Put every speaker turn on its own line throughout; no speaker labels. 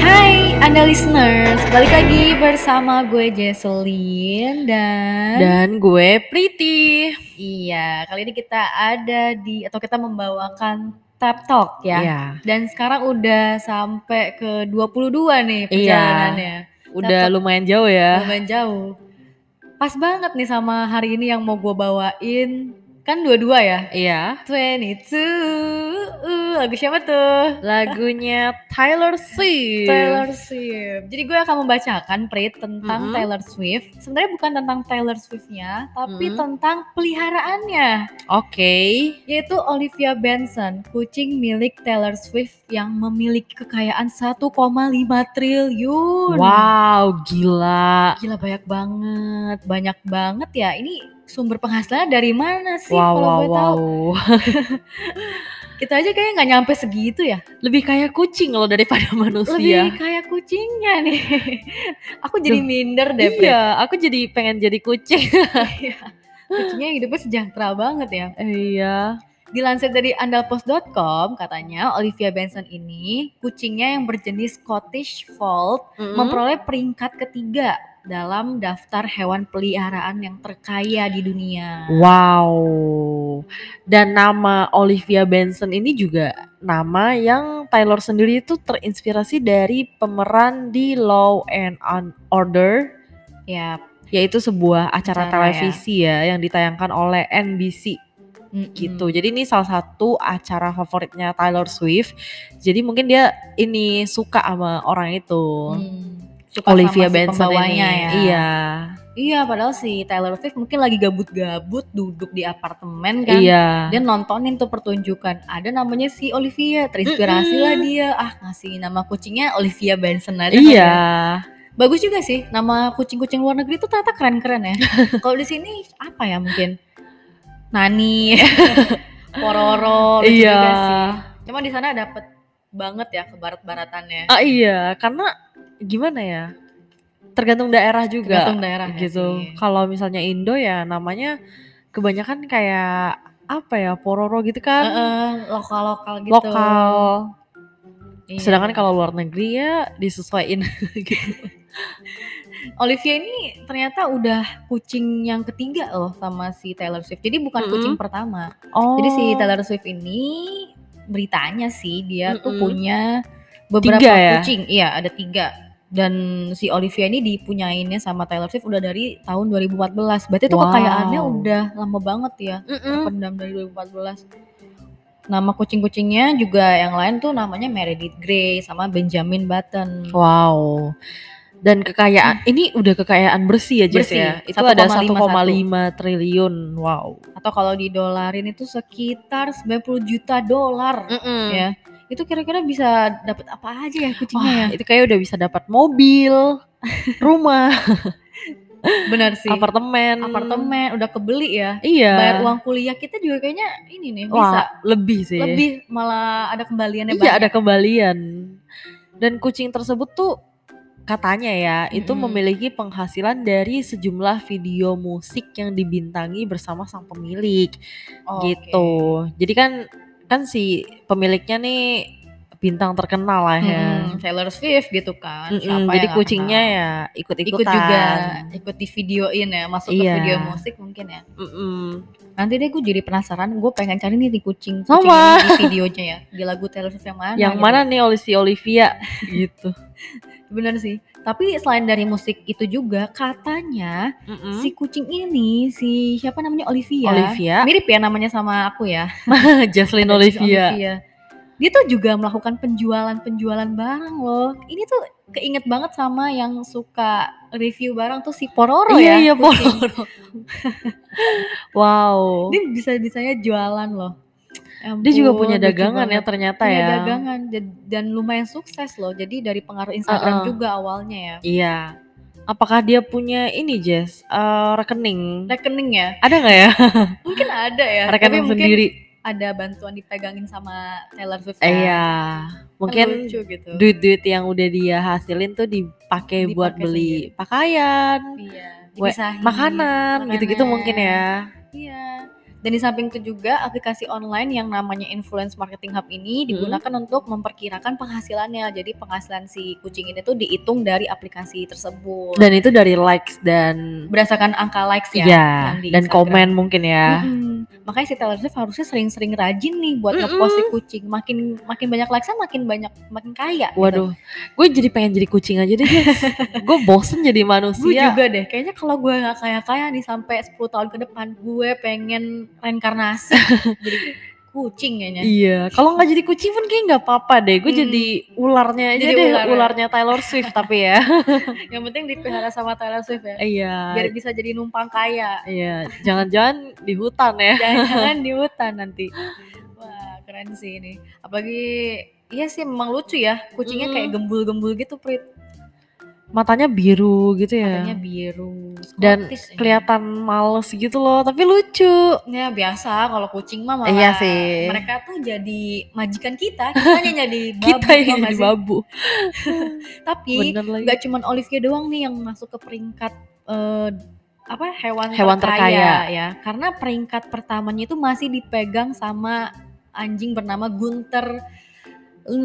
Hai, Anda listeners, balik lagi bersama gue Jesselyn dan,
Dan gue Priti.
iya, kali ini kita ada di atau kita membawakan Tap Talk ya.
Iya.
Dan sekarang udah sampai ke 22 nih perjalanannya.
Udah lumayan jauh ya.
Lumayan jauh. Pas banget nih sama hari ini yang mau gue bawain. Kan dua-dua ya.
Iya.
22. Uh, lagu siapa tuh?
Lagunya Tyler Swift.
Taylor Swift. Jadi gue akan membacakan Prit tentang
Mhm.
Taylor Swift. Sebenarnya bukan tentang Taylor Swiftnya, tapi
Mhm.
tentang peliharaannya,
Oke.
yaitu Olivia Benson, kucing milik Taylor Swift yang memiliki kekayaan 1,5 triliun.
Wow, gila.
Gila banyak banget, banyak banget ya. Ini sumber penghasilannya dari mana sih?
wow,
kalau
wow,
gue tahu,
wow.
kita aja kayaknya nggak nyampe segitu ya.
Lebih kayak kucing loh daripada manusia.
Lebih kayak kucingnya nih. Aku jadi minder deh. Prit.
Iya, aku jadi pengen jadi kucing.
Iya.
Hmm.
Kucingnya hidupnya sejahtera banget ya.
iya.
Dilansir dari andalpost.com katanya Olivia Benson ini kucingnya yang berjenis Scottish Fold
Hmm?
memperoleh peringkat ketiga dalam daftar hewan peliharaan yang terkaya di dunia.
Hmm. Wow. Dan nama Olivia Benson ini juga nama yang Taylor sendiri itu terinspirasi dari pemeran di Law and Un- Order,
Ya,
yaitu sebuah
Acara ya.
acara
Hmm.
televisi ya. yang ditayangkan oleh NBC
mm-mm.
gitu. Jadi ini salah satu acara favoritnya Taylor Swift. Jadi mungkin dia ini suka sama orang itu.
Hmm. Suka sama
Olivia
si
Benson ini.
pembawanya ya.
Iya.
Iya, padahal si Taylor Swift mungkin lagi gabut-gabut duduk di apartemen kan.
Iya.
Dia nontonin tuh pertunjukan. Ada namanya si Olivia, terinspirasi lah
Mm-mm.
dia. Ah, ngasih nama kucingnya Olivia Benson aja. kali
Iya.
ya. Bagus juga sih nama kucing-kucing luar negeri tuh ternyata keren-keren ya. Kalau di sini apa ya mungkin? Nani, Pororo, lucu
Iya.
juga sih. Cuma di sana dapet banget ya ke barat-baratannya.
Ah iya, karena gimana ya? Tergantung daerah juga
Tergantung daerah ya iya.
gitu. Kalau misalnya Indo ya namanya kebanyakan kayak apa ya? Pororo gitu kan.
lokal-lokal gitu.
Lokal.
Iya.
Sedangkan kalau luar negeri ya disesuaikan gitu.
Olivia ini ternyata udah kucing yang ketiga loh sama si Taylor Swift. Jadi bukan
Mm-mm.
kucing pertama.
Oh.
Jadi si Taylor Swift ini beritanya sih dia tuh
Mm-mm.
punya beberapa
Tiga ya?
kucing. Iya, ada tiga. Dan si Olivia ini dipunyainnya sama Taylor Swift udah dari tahun 2014. Berarti tuh
Wow. Hmm.
kekayaannya udah lama banget ya.
Mm-mm.
Pendam dari 2014. Nama kucing-kucingnya juga yang lain tuh namanya Meredith Grey sama Benjamin Button.
Oh. Wow. Dan kekayaan ini udah kekayaan bersih ya Jess
Mm. Bersih,
ya. Itu ada
1,51.
1,5 triliun. Wow.
Atau kalau didolarin itu sekitar 90 juta dolar ya. Itu kira-kira bisa dapat apa aja ya kucingnya ya?
Wah, itu kayak udah bisa dapat mobil, rumah,
Benar sih.
apartemen.
Apartemen udah kebeli ya.
Hmm. Iya.
Bayar uang kuliah kita juga kayaknya ini nih bisa
Wah, lebih sih.
lebih malah ada kembaliannya
Iya, ada
banyak.
kembalian. Dan kucing tersebut tuh katanya ya, itu
Mm-mm.
memiliki penghasilan dari sejumlah video musik yang dibintangi bersama sang pemilik
Oke.
gitu. Jadi kan kan si pemiliknya nih bintang terkenal lah ya.
Mm, Taylor Swift gitu kan. Siapa
Mm-mm, jadi
yang gak
kucingnya
kenal?
ya ikut-ikutan.
ikut juga ikut di videoin ya masuk ke
Iya.
video musik mungkin ya
Mm-mm.
nanti deh gue jadi penasaran gue pengen cari nih di kucing kucing ini
Sama.
di videonya ya di lagu Taylor Swift yang mana
Yang
gitu.
mana nih oleh si Olivia gitu.
bener sih tapi selain dari musik itu juga katanya
Mm-mm.
si kucing ini si siapa namanya Olivia
Hmm? Olivia,
mirip ya namanya sama aku ya
Jaslyn
Ada di
Olivia.
Dia tuh juga melakukan penjualan-penjualan barang loh. Ini tuh keinget banget sama yang suka review barang tuh si Pororo
iya,
ya.
iya,
kucing.
Pororo. wow.
Dia bisa-bisanya jualan loh.
Dia juga
Ampun,
punya
lucu
dagangan ya
banget.
ternyata
Punya
ya.
dagangan dan- dan lumayan sukses loh. Jadi dari pengaruh Instagram
Uh-uh.
juga awalnya ya.
Iya. Apakah dia punya ini Jess? Eh, rekening?
Rekening ya.
Ada nggak ya
Mungkin ada ya.
rekening
tapi mungkin
sendiri?
ada bantuan dipegangin sama Taylor Swift. kan.
Iya,
Kan
mungkin
lucu gitu.
duit-duit yang udah dia hasilin tuh dipakai
Dipakai
buat beli pakaian,
Iya,
we-
dipisahin.
makanan, gitu-gitu
makanan.
mungkin ya.
Iya. Dan di samping itu juga aplikasi online yang namanya Influence Marketing Hub
Hmm.
ini digunakan untuk memperkirakan penghasilannya. Jadi penghasilan si kucing ini tuh dihitung dari aplikasi tersebut.
Dan itu dari likes dan
Berdasarkan angka likes ya.
Iya,
yang di
dan
Instagram.
komen mungkin ya.
Mm-mm. Makanya si Taylor Swift harusnya sering-sering rajin nih buat
Mm-mm.
ngepost si kucing. Makin makin banyak likes-nya makin banyak makin kaya. gitu.
Waduh, gue jadi pengen jadi kucing aja deh, guys. gue bosen jadi
Gue
manusia.
juga deh, kayaknya kalau gue gak kaya-kaya nih sampai 10 tahun ke depan gue pengen reinkarnasi jadi kucing kayaknya.
Iya, kalau nggak jadi kucing pun kayak nggak apa-apa deh. Gue
ya. Hmm.
jadi ularnya aja
Jadi
deh,
ular ya.
ularnya Taylor Swift tapi ya.
Yang penting dipelihara sama Taylor Swift ya.
Iya,
Biar bisa jadi numpang kaya.
iya. Jangan-jangan di hutan ya.
Jangan-jangan di hutan nanti. Wah, keren sih ini. Apalagi Iya sih memang lucu ya. Kucingnya
Mm.
kayak gembul-gembul gitu, Prit.
Matanya biru gitu ya.
Matanya biru.
Dan
Scottish ya.
kelihatan males gitu loh, tapi lucu.
Ya biasa kalau kucing mah malah
Iya sih.
mereka tuh jadi majikan kita, kita hanya jadi babu.
Kita
tau gak
yang jadi
sih?
babu.
Tapi
Bener lagi.
nggak cuman Olivia doang nih yang masuk ke peringkat eh, apa hewan,
Hewan terkaya.
ya. Karena peringkat pertamanya itu masih dipegang sama anjing bernama Gunter 6.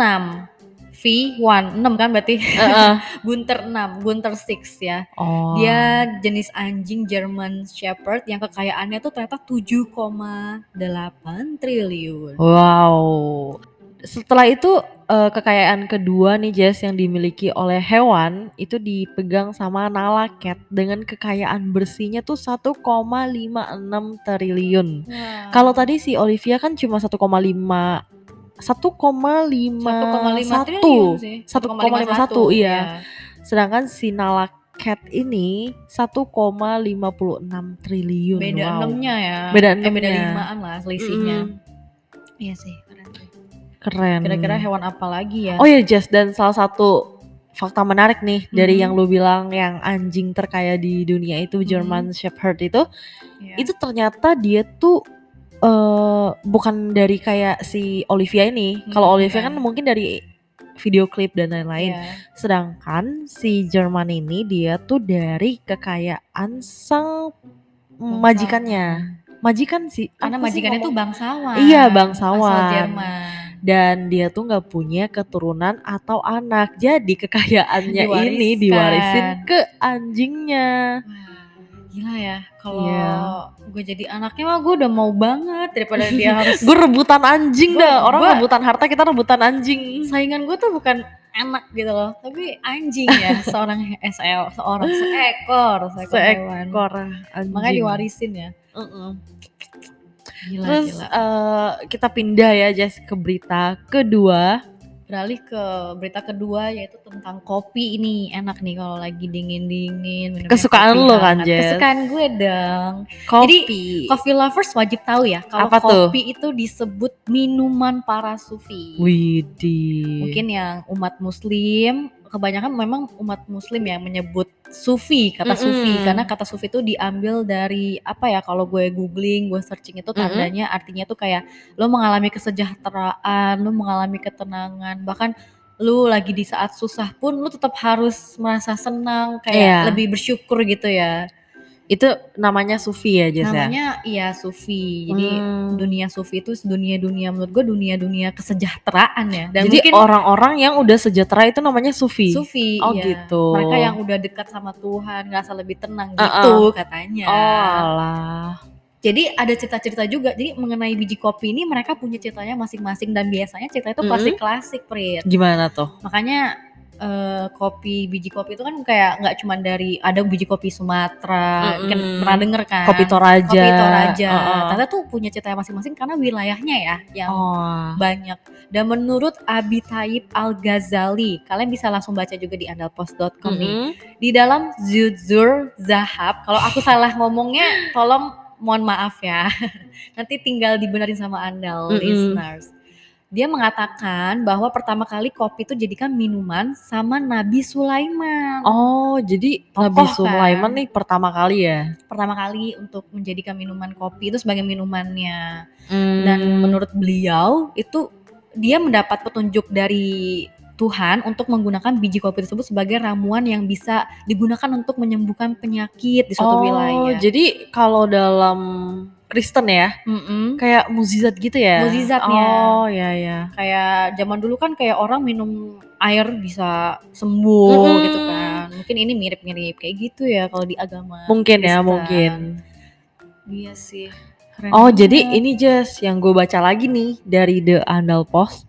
V1 6 kan berarti
Heeh.
Gunter 6, Gunter 6 ya.
Oh.
Dia jenis anjing German Shepherd yang kekayaannya tuh ternyata 7,8 triliun.
Oh. Wow. Setelah itu eh, kekayaan kedua nih Jess yang dimiliki oleh hewan itu dipegang sama Nala Cat dengan kekayaan bersihnya tuh 1,56 triliun.
Wah.
Kalau tadi si Olivia kan cuma 1,5
1,5
1,51
triliun sih.
1,51, iya. Sedangkan si Nala Cat ini 1,56
iya.
triliun.
Beda
Wow.
enamnya ya.
Beda
Eh, beda
enamnya.
limaan lah selisihnya.
Mm,
Iya sih. keren sih.
keren.
Kira-kira hewan apa lagi ya?
Oh ya Jess dan salah satu fakta menarik nih dari
Mhm.
yang lu bilang yang anjing terkaya di dunia
Mhm.
itu German Shepherd itu
Iya.
itu ternyata dia tuh eh bukan dari kayak si Olivia ini.
Hmm,
Kalau Olivia
bukan.
kan mungkin dari video klip dan lain-lain.
Iya.
Sedangkan si Jerman ini dia tuh dari kekayaan sang
Bangsawan.
majikannya. Majikan sih.
Mm-hmm. Karena
apa sih
majikannya tuh
ngomong-
bangsawan.
Iya, bangsawan.
Asal Jerman.
dan dia tuh nggak punya keturunan atau anak. Jadi kekayaannya
Diwariskan.
ini diwarisin ke anjingnya.
Wah, Gila ya, kalau
Iya.
gue jadi anaknya mah gue udah mau banget daripada dia harus
Gue rebutan anjing
Gua-
dah. Orang
gua-
rebutan harta, kita rebutan anjing.
saingan gue tuh bukan anak gitu loh, tapi anjing ya seorang SL, seorang seekor, seekor, hewan.
Seekor anjing.
Makanya diwarisin ya.
Mm-mm.
Gila,
Terus
gila.
eh, kita pindah ya Jess ke berita kedua.
Beralih ke berita kedua yaitu tentang kopi ini enak nih kalau lagi dingin dingin.
Kesukaan lo kan, Jess?
Kesukaan gue dong.
Kopi.
Coffee lovers wajib tahu ya kalau
Apa tuh?
kopi itu disebut minuman para sufi.
Widih.
mungkin yang umat muslim kebanyakan memang umat muslim yang menyebut sufi kata
Mm-mm.
sufi karena kata sufi itu diambil dari apa ya kalau gue googling gue searching itu
Mm-mm.
tandanya artinya tuh kayak lo mengalami kesejahteraan lo mengalami ketenangan bahkan lu lagi di saat susah pun lu tetap harus merasa senang kayak
Iya.
lebih bersyukur gitu ya
itu namanya Sufi ya Jess ya.
namanya iya sufi jadi
Hmm.
dunia sufi itu dunia dunia menurut gue dunia dunia kesejahteraan ya dan
Jadi
mungkin
orang-orang yang udah sejahtera itu namanya Sufi.
Sufi,
Oh,
iya.
gitu.
Mereka yang udah dekat sama Tuhan, ngerasa lebih tenang
Uh-uh.
gitu katanya.
Oh alah.
Jadi ada cerita-cerita juga. Jadi mengenai biji kopi ini mereka punya ceritanya masing-masing dan biasanya cerita itu
Mm-mm.
klasik-klasik, Prit.
Gimana tuh?
Makanya eh, kopi biji kopi itu kan kayak nggak cuma dari ada biji kopi Sumatera,
Mm-mm.
kan pernah denger kan?
Kopi Toraja.
Kopi Toraja.
Heeh.
Ternyata tuh punya ceritanya masing-masing karena wilayahnya ya yang
Oh.
banyak. Dan menurut Abi Taib Al Ghazali, kalian bisa langsung baca juga di andalpost.com nih.
Mm-mm.
Di dalam Zuzur Zahab, kalau aku salah ngomongnya, tolong mohon maaf ya. Nanti tinggal dibenerin sama Andal
Mm-mm.
listeners. Dia mengatakan bahwa pertama kali kopi itu jadikan minuman sama Nabi Sulaiman.
Oh, jadi Nabi
Tokoh, kan?
Sulaiman nih pertama kali ya.
Pertama kali untuk menjadikan minuman kopi itu sebagai minumannya. Dan
Mm.
menurut beliau itu dia mendapat petunjuk dari Tuhan untuk menggunakan biji kopi tersebut sebagai ramuan yang bisa digunakan untuk menyembuhkan penyakit di suatu
oh,
wilayah.
jadi kalau dalam Kristen ya,
Mm-mm.
kayak mukjizat gitu ya.
Mukjizatnya.
Oh, ya ya.
kayak zaman dulu kan kayak orang minum air bisa sembuh
Mm-mm.
gitu kan mungkin ini mirip-mirip kayak gitu ya kalau di agama
Mungkin ya,
Kristen.
mungkin.
iya sih Keren
Oh,
banget.
jadi ini Jess yang gue baca lagi nih dari The Andal Post.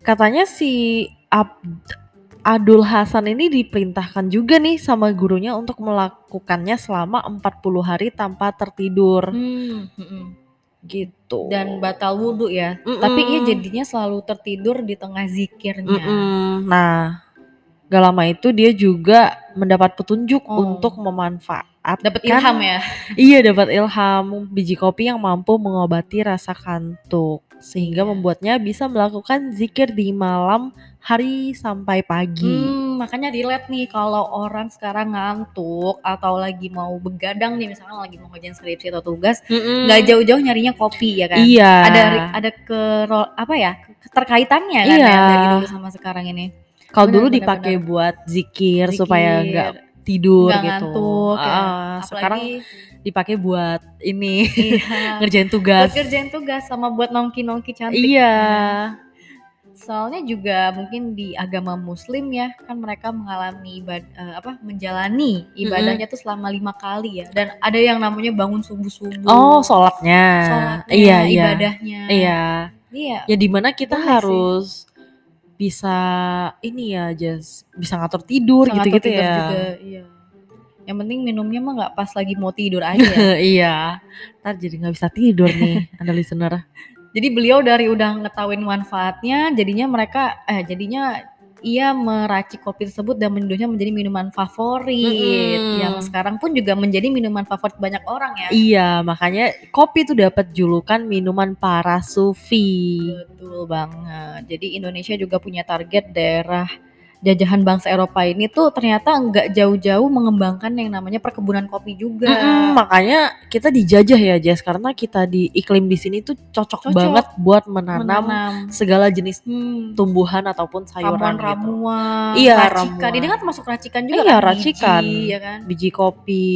Katanya si Ab- Adul Hasan ini diperintahkan juga nih sama gurunya untuk melakukannya selama 40 hari tanpa tertidur
Hmm, mm-mm.
gitu.
dan batal wudhu ya
Mm-mm.
tapi ia jadinya selalu tertidur di tengah zikirnya
Mm-mm. Nah, gak lama itu dia juga mendapat petunjuk
Oh.
untuk memanfaatkan
dapat ilham ya
Iya, dapat ilham biji kopi yang mampu mengobati rasa kantuk
Iya.
sehingga membuatnya bisa melakukan zikir di malam hari sampai pagi.
Hmm, makanya relate nih kalau orang sekarang ngantuk atau lagi mau begadang nih misalnya lagi mau ngerjain skripsi atau tugas
Mm.
nggak jauh-jauh nyarinya kopi ya kan
Iya.
ada ada ke apa ya keterkaitannya kan
Iya.
ya, dari dulu sama sekarang ini
Kalau
benar,
dulu
benar,
dipakai
benar.
buat zikir,
Zikir,
supaya nggak tidur
nggak
gitu.
ngantuk ya.
Ah,
apalagi
sekarang dipakai buat ini
iya,
ngerjain
buat
tugas.
kerjain tugas sama buat nongki nongki cantik
Iya.
soalnya juga mungkin di agama muslim ya kan mereka mengalami ibad, eh, apa menjalani ibadahnya tuh selama lima kali ya dan ada yang namanya bangun subuh subuh
Oh, sholatnya.
Iya. sholatnya
Iya, iya.
ibadahnya
Iya.
iya
ya dimana kita
Boleh sih.
harus bisa ini ya just bisa ngatur tidur
sangat
gitu gitu
tertidur
ya
juga, iya. yang penting minumnya mah nggak pas lagi mau tidur aja
Eh, iya ntar jadi nggak bisa tidur nih anda listener
Jadi beliau dari udah ngetahuin manfaatnya, jadinya mereka eh jadinya ia meracik kopi tersebut dan menyuduhnya menjadi minuman favorit
Mm-mm.
yang sekarang pun juga menjadi minuman favorit banyak orang ya.
iya makanya kopi itu dapat julukan minuman para sufi
Betul banget. Jadi Indonesia juga punya target daerah jajahan bangsa Eropa ini tuh ternyata nggak jauh-jauh mengembangkan yang namanya perkebunan kopi juga.
Mm-mm, makanya kita dijajah ya Jess karena kita di iklim di sini tuh cocok,
Cocok.
banget buat menanam,
Menanam
segala jenis
hmm,
tumbuhan ataupun sayuran gitu
ramuan-ramuan,
Iya,
racikan.
ramuan.
Ini kan termasuk racikan juga
Iya,
kan,
racikan.
biji, ya kan?
biji kopi.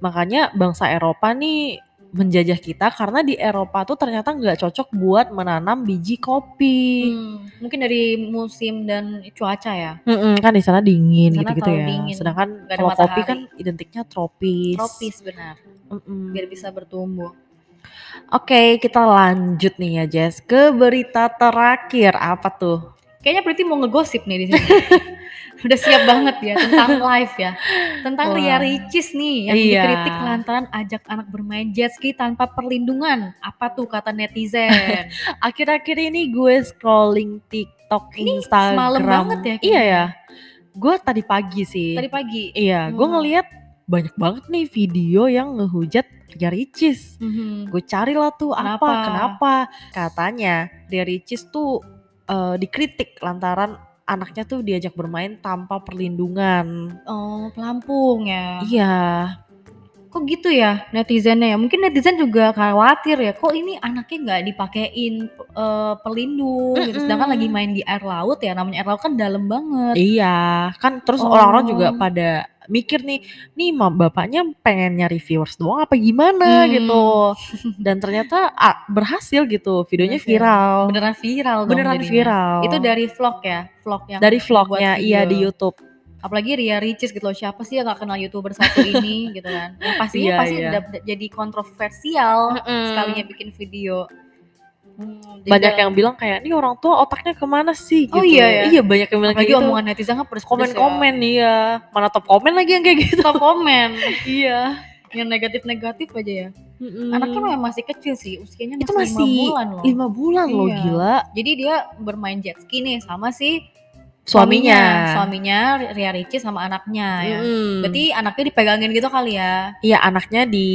Makanya bangsa Eropa nih menjajah kita karena di Eropa tuh ternyata nggak cocok buat menanam biji kopi.
Hmm, mungkin dari musim dan cuaca ya.
Mm-mm, kan di sana dingin
Sana
gitu-gitu
terlalu
ya.
dingin,
Sedangkan
nggak ada
kalau kopi
matahari.
kan identiknya tropis.
Tropis benar,
Mm-mm.
biar bisa bertumbuh.
Oke, kita lanjut nih ya Jess ke berita terakhir apa tuh?
Kayaknya Priti mau ngegosip nih di sini. Udah siap banget ya tentang live ya. Tentang
Wah.
Ria Ricis nih yang
Iya.
dikritik lantaran ajak anak bermain jet ski tanpa perlindungan. Apa tuh kata netizen?
Akhir-akhir ini gue scrolling TikTok, Instagram.
semalam banget ya
Iya
kayaknya.
ya. Gue tadi pagi sih.
Tadi pagi.
Iya, gue
Hmm.
ngeliat banyak banget nih video yang ngehujat Ria Ricis.
Mhm.
Gue carilah tuh apa,
Kenapa?
kenapa? Katanya Ria Ricis tuh eh, dikritik lantaran anaknya tuh diajak bermain tanpa perlindungan.
Oh, pelampung ya.
Iya,
Kok gitu ya netizennya ya? Mungkin netizen juga khawatir ya. Kok ini anaknya nggak dipakein eh, pelindung gitu.
Mm-mm.
Sedangkan lagi main di air laut ya. Namanya air laut kan dalam banget.
iya. Kan terus
Oh.
orang-orang juga pada mikir nih, nih mam bapaknya pengen nyari viewers doang apa gimana
Hmm.
gitu. Dan ternyata ah, berhasil gitu, videonya
Berhasil.
viral.
Beneran viral dong
Beneran
jadinya.
viral.
Itu dari vlog ya? Vlog yang
dari
buat
vlognya,
video.
iya di YouTube.
Apalagi Ria Ricis gitu loh. Siapa sih yang gak kenal youtuber satu ini gitu kan. Yang pastinya
Iya,
pasti
iya.
dap- jadi kontroversial
sekalinya
sekalinya bikin video. Hmm, jadi
banyak
dalam-
yang bilang kayak ini orang tua otaknya kemana sih gitu
Oh iya ya?
iya banyak yang bilang
Apalagi
kayak gitu
omongan netizen kan pedes
komen-komen iya mana top komen lagi yang kayak gitu
Stop komen.
iya
yang negatif-negatif aja ya.
Mm-mm.
Anaknya memang masih kecil sih, usianya
Hmm. Itu
masih, lima
masih
bulan loh.
lima bulan loh
Iya.
gila
Jadi dia bermain jet ski nih sama si
suaminya Hmm.
suaminya Ria Ricis sama anaknya ya.
Mm-mm.
Berarti anaknya dipegangin gitu kali ya.
iya anaknya di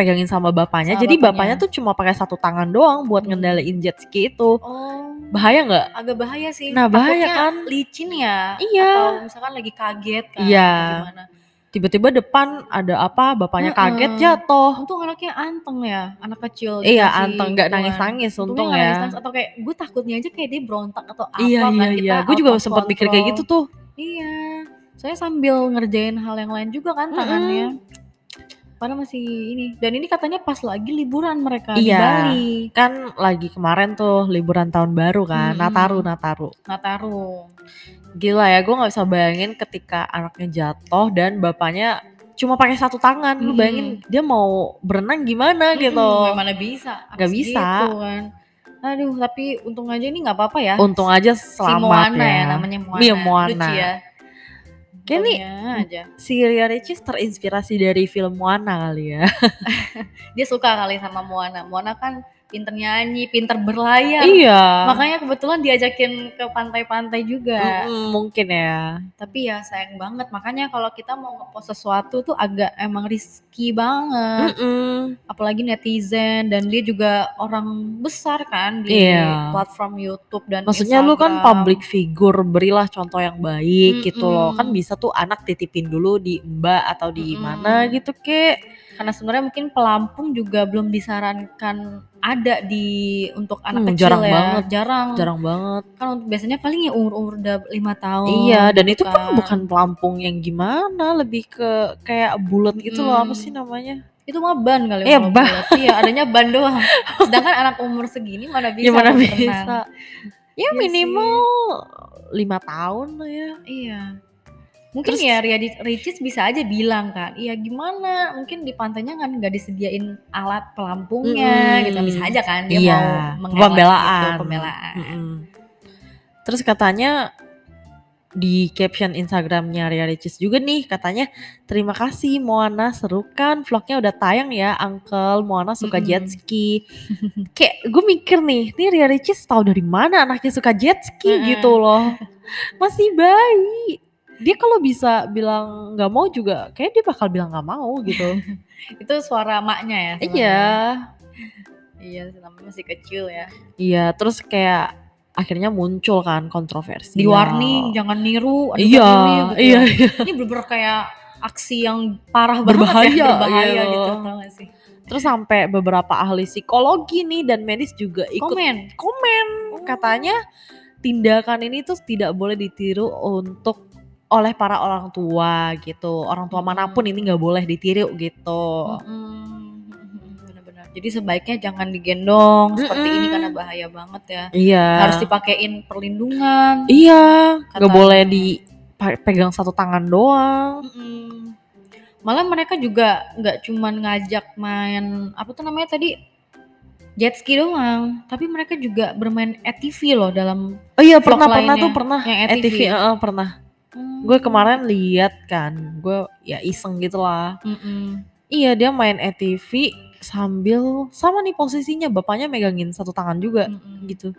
dipegangin sama bapaknya.
Sama
jadi
bapaknya.
bapaknya. tuh cuma pakai satu tangan doang buat
Hmm.
ngendalain jet ski itu.
Oh,
Bahaya nggak?
agak bahaya sih.
Nah, bahaya
Takutnya
kan?
Licin ya.
Iya.
Atau misalkan lagi kaget kan.
Iya.
atau Gimana.
Tiba-tiba depan ada apa? Bapaknya
Mm-mm.
kaget jatuh.
Untung anaknya anteng ya, anak kecil.
Iya,
dikasih
anteng nggak
gituan.
nangis-nangis
kan. Untungnya
untung
nggak
ya.
nangis-nangis. atau kayak gue takutnya aja kayak dia berontak atau apa
Iya
kan
iya
kita
iya. Gue
out
juga
of
sempat pikir kayak gitu
control.
tuh.
Iya. Soalnya sambil ngerjain hal yang lain juga kan tangannya. Padahal masih ini. Dan ini katanya pas lagi liburan mereka di
Iya.
Bali,
Kan lagi kemarin tuh liburan tahun baru kan,
Mm-mm.
Nataru Nataru.
Nataru.
Gila ya, gue nggak bisa bayangin ketika anaknya jatuh dan bapaknya cuma pakai satu tangan. Lu
Mm-mm.
bayangin dia mau berenang gimana
Hmm,
gitu.
Mm-mm, Mana bisa?
Nggak
harus
bisa.
Gitu kan. Aduh, tapi untung aja ini nggak apa-apa ya.
Untung aja
si
selamat
Moana
ya.
ya. namanya Moana.
Iya, Moana.
Lucu ya.
Kayak ini-
Untungnya aja.
Si Ria Ricis terinspirasi dari film Moana kali ya.
Dia suka kali sama Moana. Moana kan pinter nyanyi, pinter berlayar.
iya.
Makanya kebetulan diajakin ke pantai-pantai juga.
Mm-mm, mungkin ya.
Tapi ya sayang banget. Makanya kalau kita mau ngepost sesuatu tuh agak emang risky banget.
Mm-mm.
Apalagi netizen dan dia juga orang besar kan di
Iya.
platform YouTube dan
Maksudnya lu kan
Instagram.
public figure, berilah contoh yang baik gitu
Mm-mm.
loh. Kan bisa tuh anak titipin dulu di Mbak atau di
Mm-mm.
mana gitu kek.
Karena sebenarnya mungkin pelampung juga belum disarankan ada di untuk anak
Hmm,
kecil
jarang
ya.
banget.
Jarang.
Jarang banget.
Kan untuk- biasanya paling ya umur-umur udah lima tahun.
iya, dan itu
kan.
kan bukan pelampung yang gimana, lebih ke kayak bulat gitu loh, apa
Mm.
sih namanya?
Itu mah ban kali
Iya,
kalau
ban.
bulat. Iya, adanya ban doang. Sedangkan anak umur segini mana bisa
gimana
berenang.
Iya, bisa? Ya
Iya
minimal lima tahun lah ya.
Iya. Mungkin
Terus-
ya Ria Di- Ricis bisa aja bilang kan, iya gimana? Mungkin di pantainya kan nggak disediain alat pelampungnya
Mm-mm.
gitu bisa aja kan dia
iya,
mau mengelak
pembelaan.
gitu, pembelaan.
Mm-mm. Terus katanya di caption Instagramnya Ria Ricis juga nih katanya terima kasih Moana seru kan vlognya udah tayang ya Uncle Moana suka
Mm-mm.
jet ski kayak gue mikir nih nih Ria Ricis tahu dari mana anaknya suka jet ski
Mm-mm.
gitu loh masih bayi dia kalau bisa bilang nggak mau juga kayak dia bakal bilang nggak mau gitu
Itu suara maknya ya.
iya
sebenarnya. Iya, namanya masih kecil ya.
Iya, terus kayak akhirnya muncul kan kontroversi.
Di warning jangan niru. aduh,
Iya,
jangan niru, gitu.
iya, iya.
Ini bener-bener kayak aksi yang parah banget
Berbahaya,
ya, berbahaya
iya.
gitu tau gak sih?
Terus sampai beberapa ahli psikologi nih dan medis juga ikut
Komen. Oh.
komen, katanya tindakan ini tuh tidak boleh ditiru untuk oleh para orang tua gitu. Orang tua manapun
Hmm.
ini nggak boleh ditiru
Oh.
gitu.
Mm-mm. Benar-benar. Jadi sebaiknya jangan digendong seperti ini
Mm-mm.
karena bahaya banget ya.
Iya.
Harus dipakein perlindungan.
Iya, nggak
Katanya.
boleh di pegang satu tangan doang.
Mm-mm. Malah mereka juga nggak cuman ngajak main apa tuh namanya tadi jet ski doang, tapi mereka juga bermain ATV loh dalam
Oh iya,
Vlog
pernah pernah
lainnya.
tuh pernah.
yang E ATV.
ATV, eh, pernah.
Mm.
gue kemarin lihat kan gue ya iseng gitu lah
Mm-mm.
iya dia main ATV sambil sama nih posisinya bapaknya megangin satu tangan juga
Mm-mm.
gitu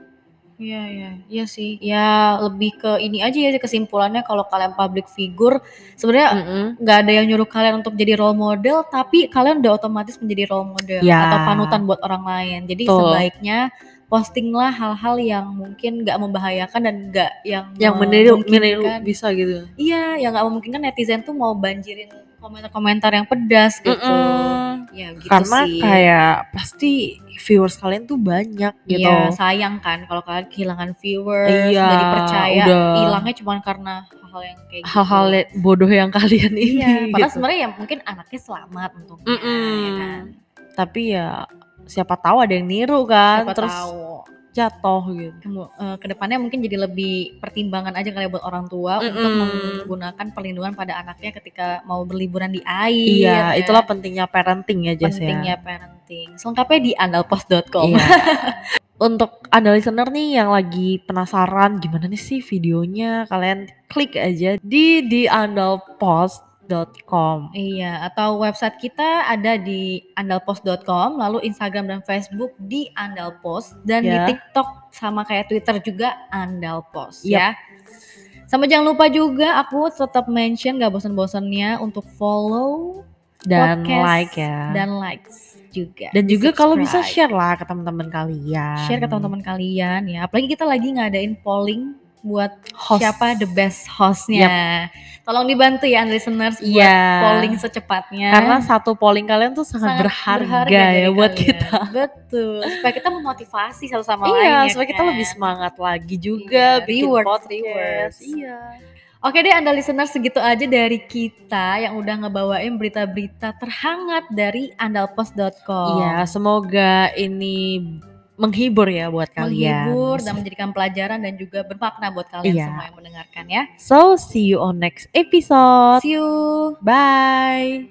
Iya iya iya sih. Ya lebih ke ini aja ya kesimpulannya kalau kalian public figure sebenarnya nggak ada yang nyuruh kalian untuk jadi role model tapi kalian udah otomatis menjadi role model
Ya.
atau panutan buat orang lain jadi
Betul.
sebaiknya postinglah hal-hal yang mungkin nggak membahayakan dan nggak yang
yang meniru meniru
memungkinkan-
bisa gitu
iya yang nggak memungkinkan netizen tuh mau banjirin komentar-komentar yang pedas gitu
Mm-mm.
ya gitu
karena
sih
kayak pasti viewers kalian tuh banyak gitu
Iya, sayang kan kalau kalian kehilangan viewers
Iya,
dari percaya
udah.
hilangnya cuma karena hal-hal yang kayak gitu.
hal-hal le- bodoh yang kalian ini
iya, padahal
gitu.
sebenarnya ya mungkin anaknya selamat untungnya
Mm-mm.
ya kan.
tapi ya siapa tahu ada yang niru kan
Siapa
terus
tahu.
jatuh gitu
Kemu- eh, kedepannya mungkin jadi lebih pertimbangan aja kali ya buat orang tua untuk
Mm-mm.
menggunakan perlindungan pada anaknya ketika mau berliburan di air. ya.
iya itulah pentingnya parenting ya Jess ya
pentingnya parenting. Selengkapnya di andalpos.com.
Iya. Untuk Anda listener nih yang lagi penasaran gimana nih sih videonya, kalian klik aja di diandalpost.com.
Iya, atau website kita ada di andalpos.com, lalu Instagram dan Facebook di andalpos dan
Ya.
di TikTok sama kayak Twitter juga andalpos ya.
Yap.
Sama jangan lupa juga aku tetap mention gak bosan-bosannya untuk follow
dan
podcast
like ya. Dan,
dan likes juga.
juga kalau bisa
Di-subscribe.
share lah ke teman-teman kalian.
share ke teman-teman kalian ya. Apalagi kita lagi ngadain polling buat
Host.
siapa the best hostnya. Tolong dibantu ya listeners buat
Iya.
polling secepatnya.
Karena satu polling kalian tuh sangat, berharga, ya
dari
buat
kalian.
kita.
Betul. Supaya kita memotivasi satu sama lain.
Iya,
ya
supaya kita
kan?
lebih semangat lagi juga
Iya,
bikin
rewards,
podcast.
rewards.
Iya.
Oke deh Anda listener segitu aja dari kita yang udah ngebawain berita-berita terhangat dari andalpos.com.
Iya, semoga ini menghibur ya buat kalian.
Menghibur dan menjadikan pelajaran dan juga bermakna buat kalian
Iya.
semua yang mendengarkan ya.
So, see you on next episode.
See you.
Bye.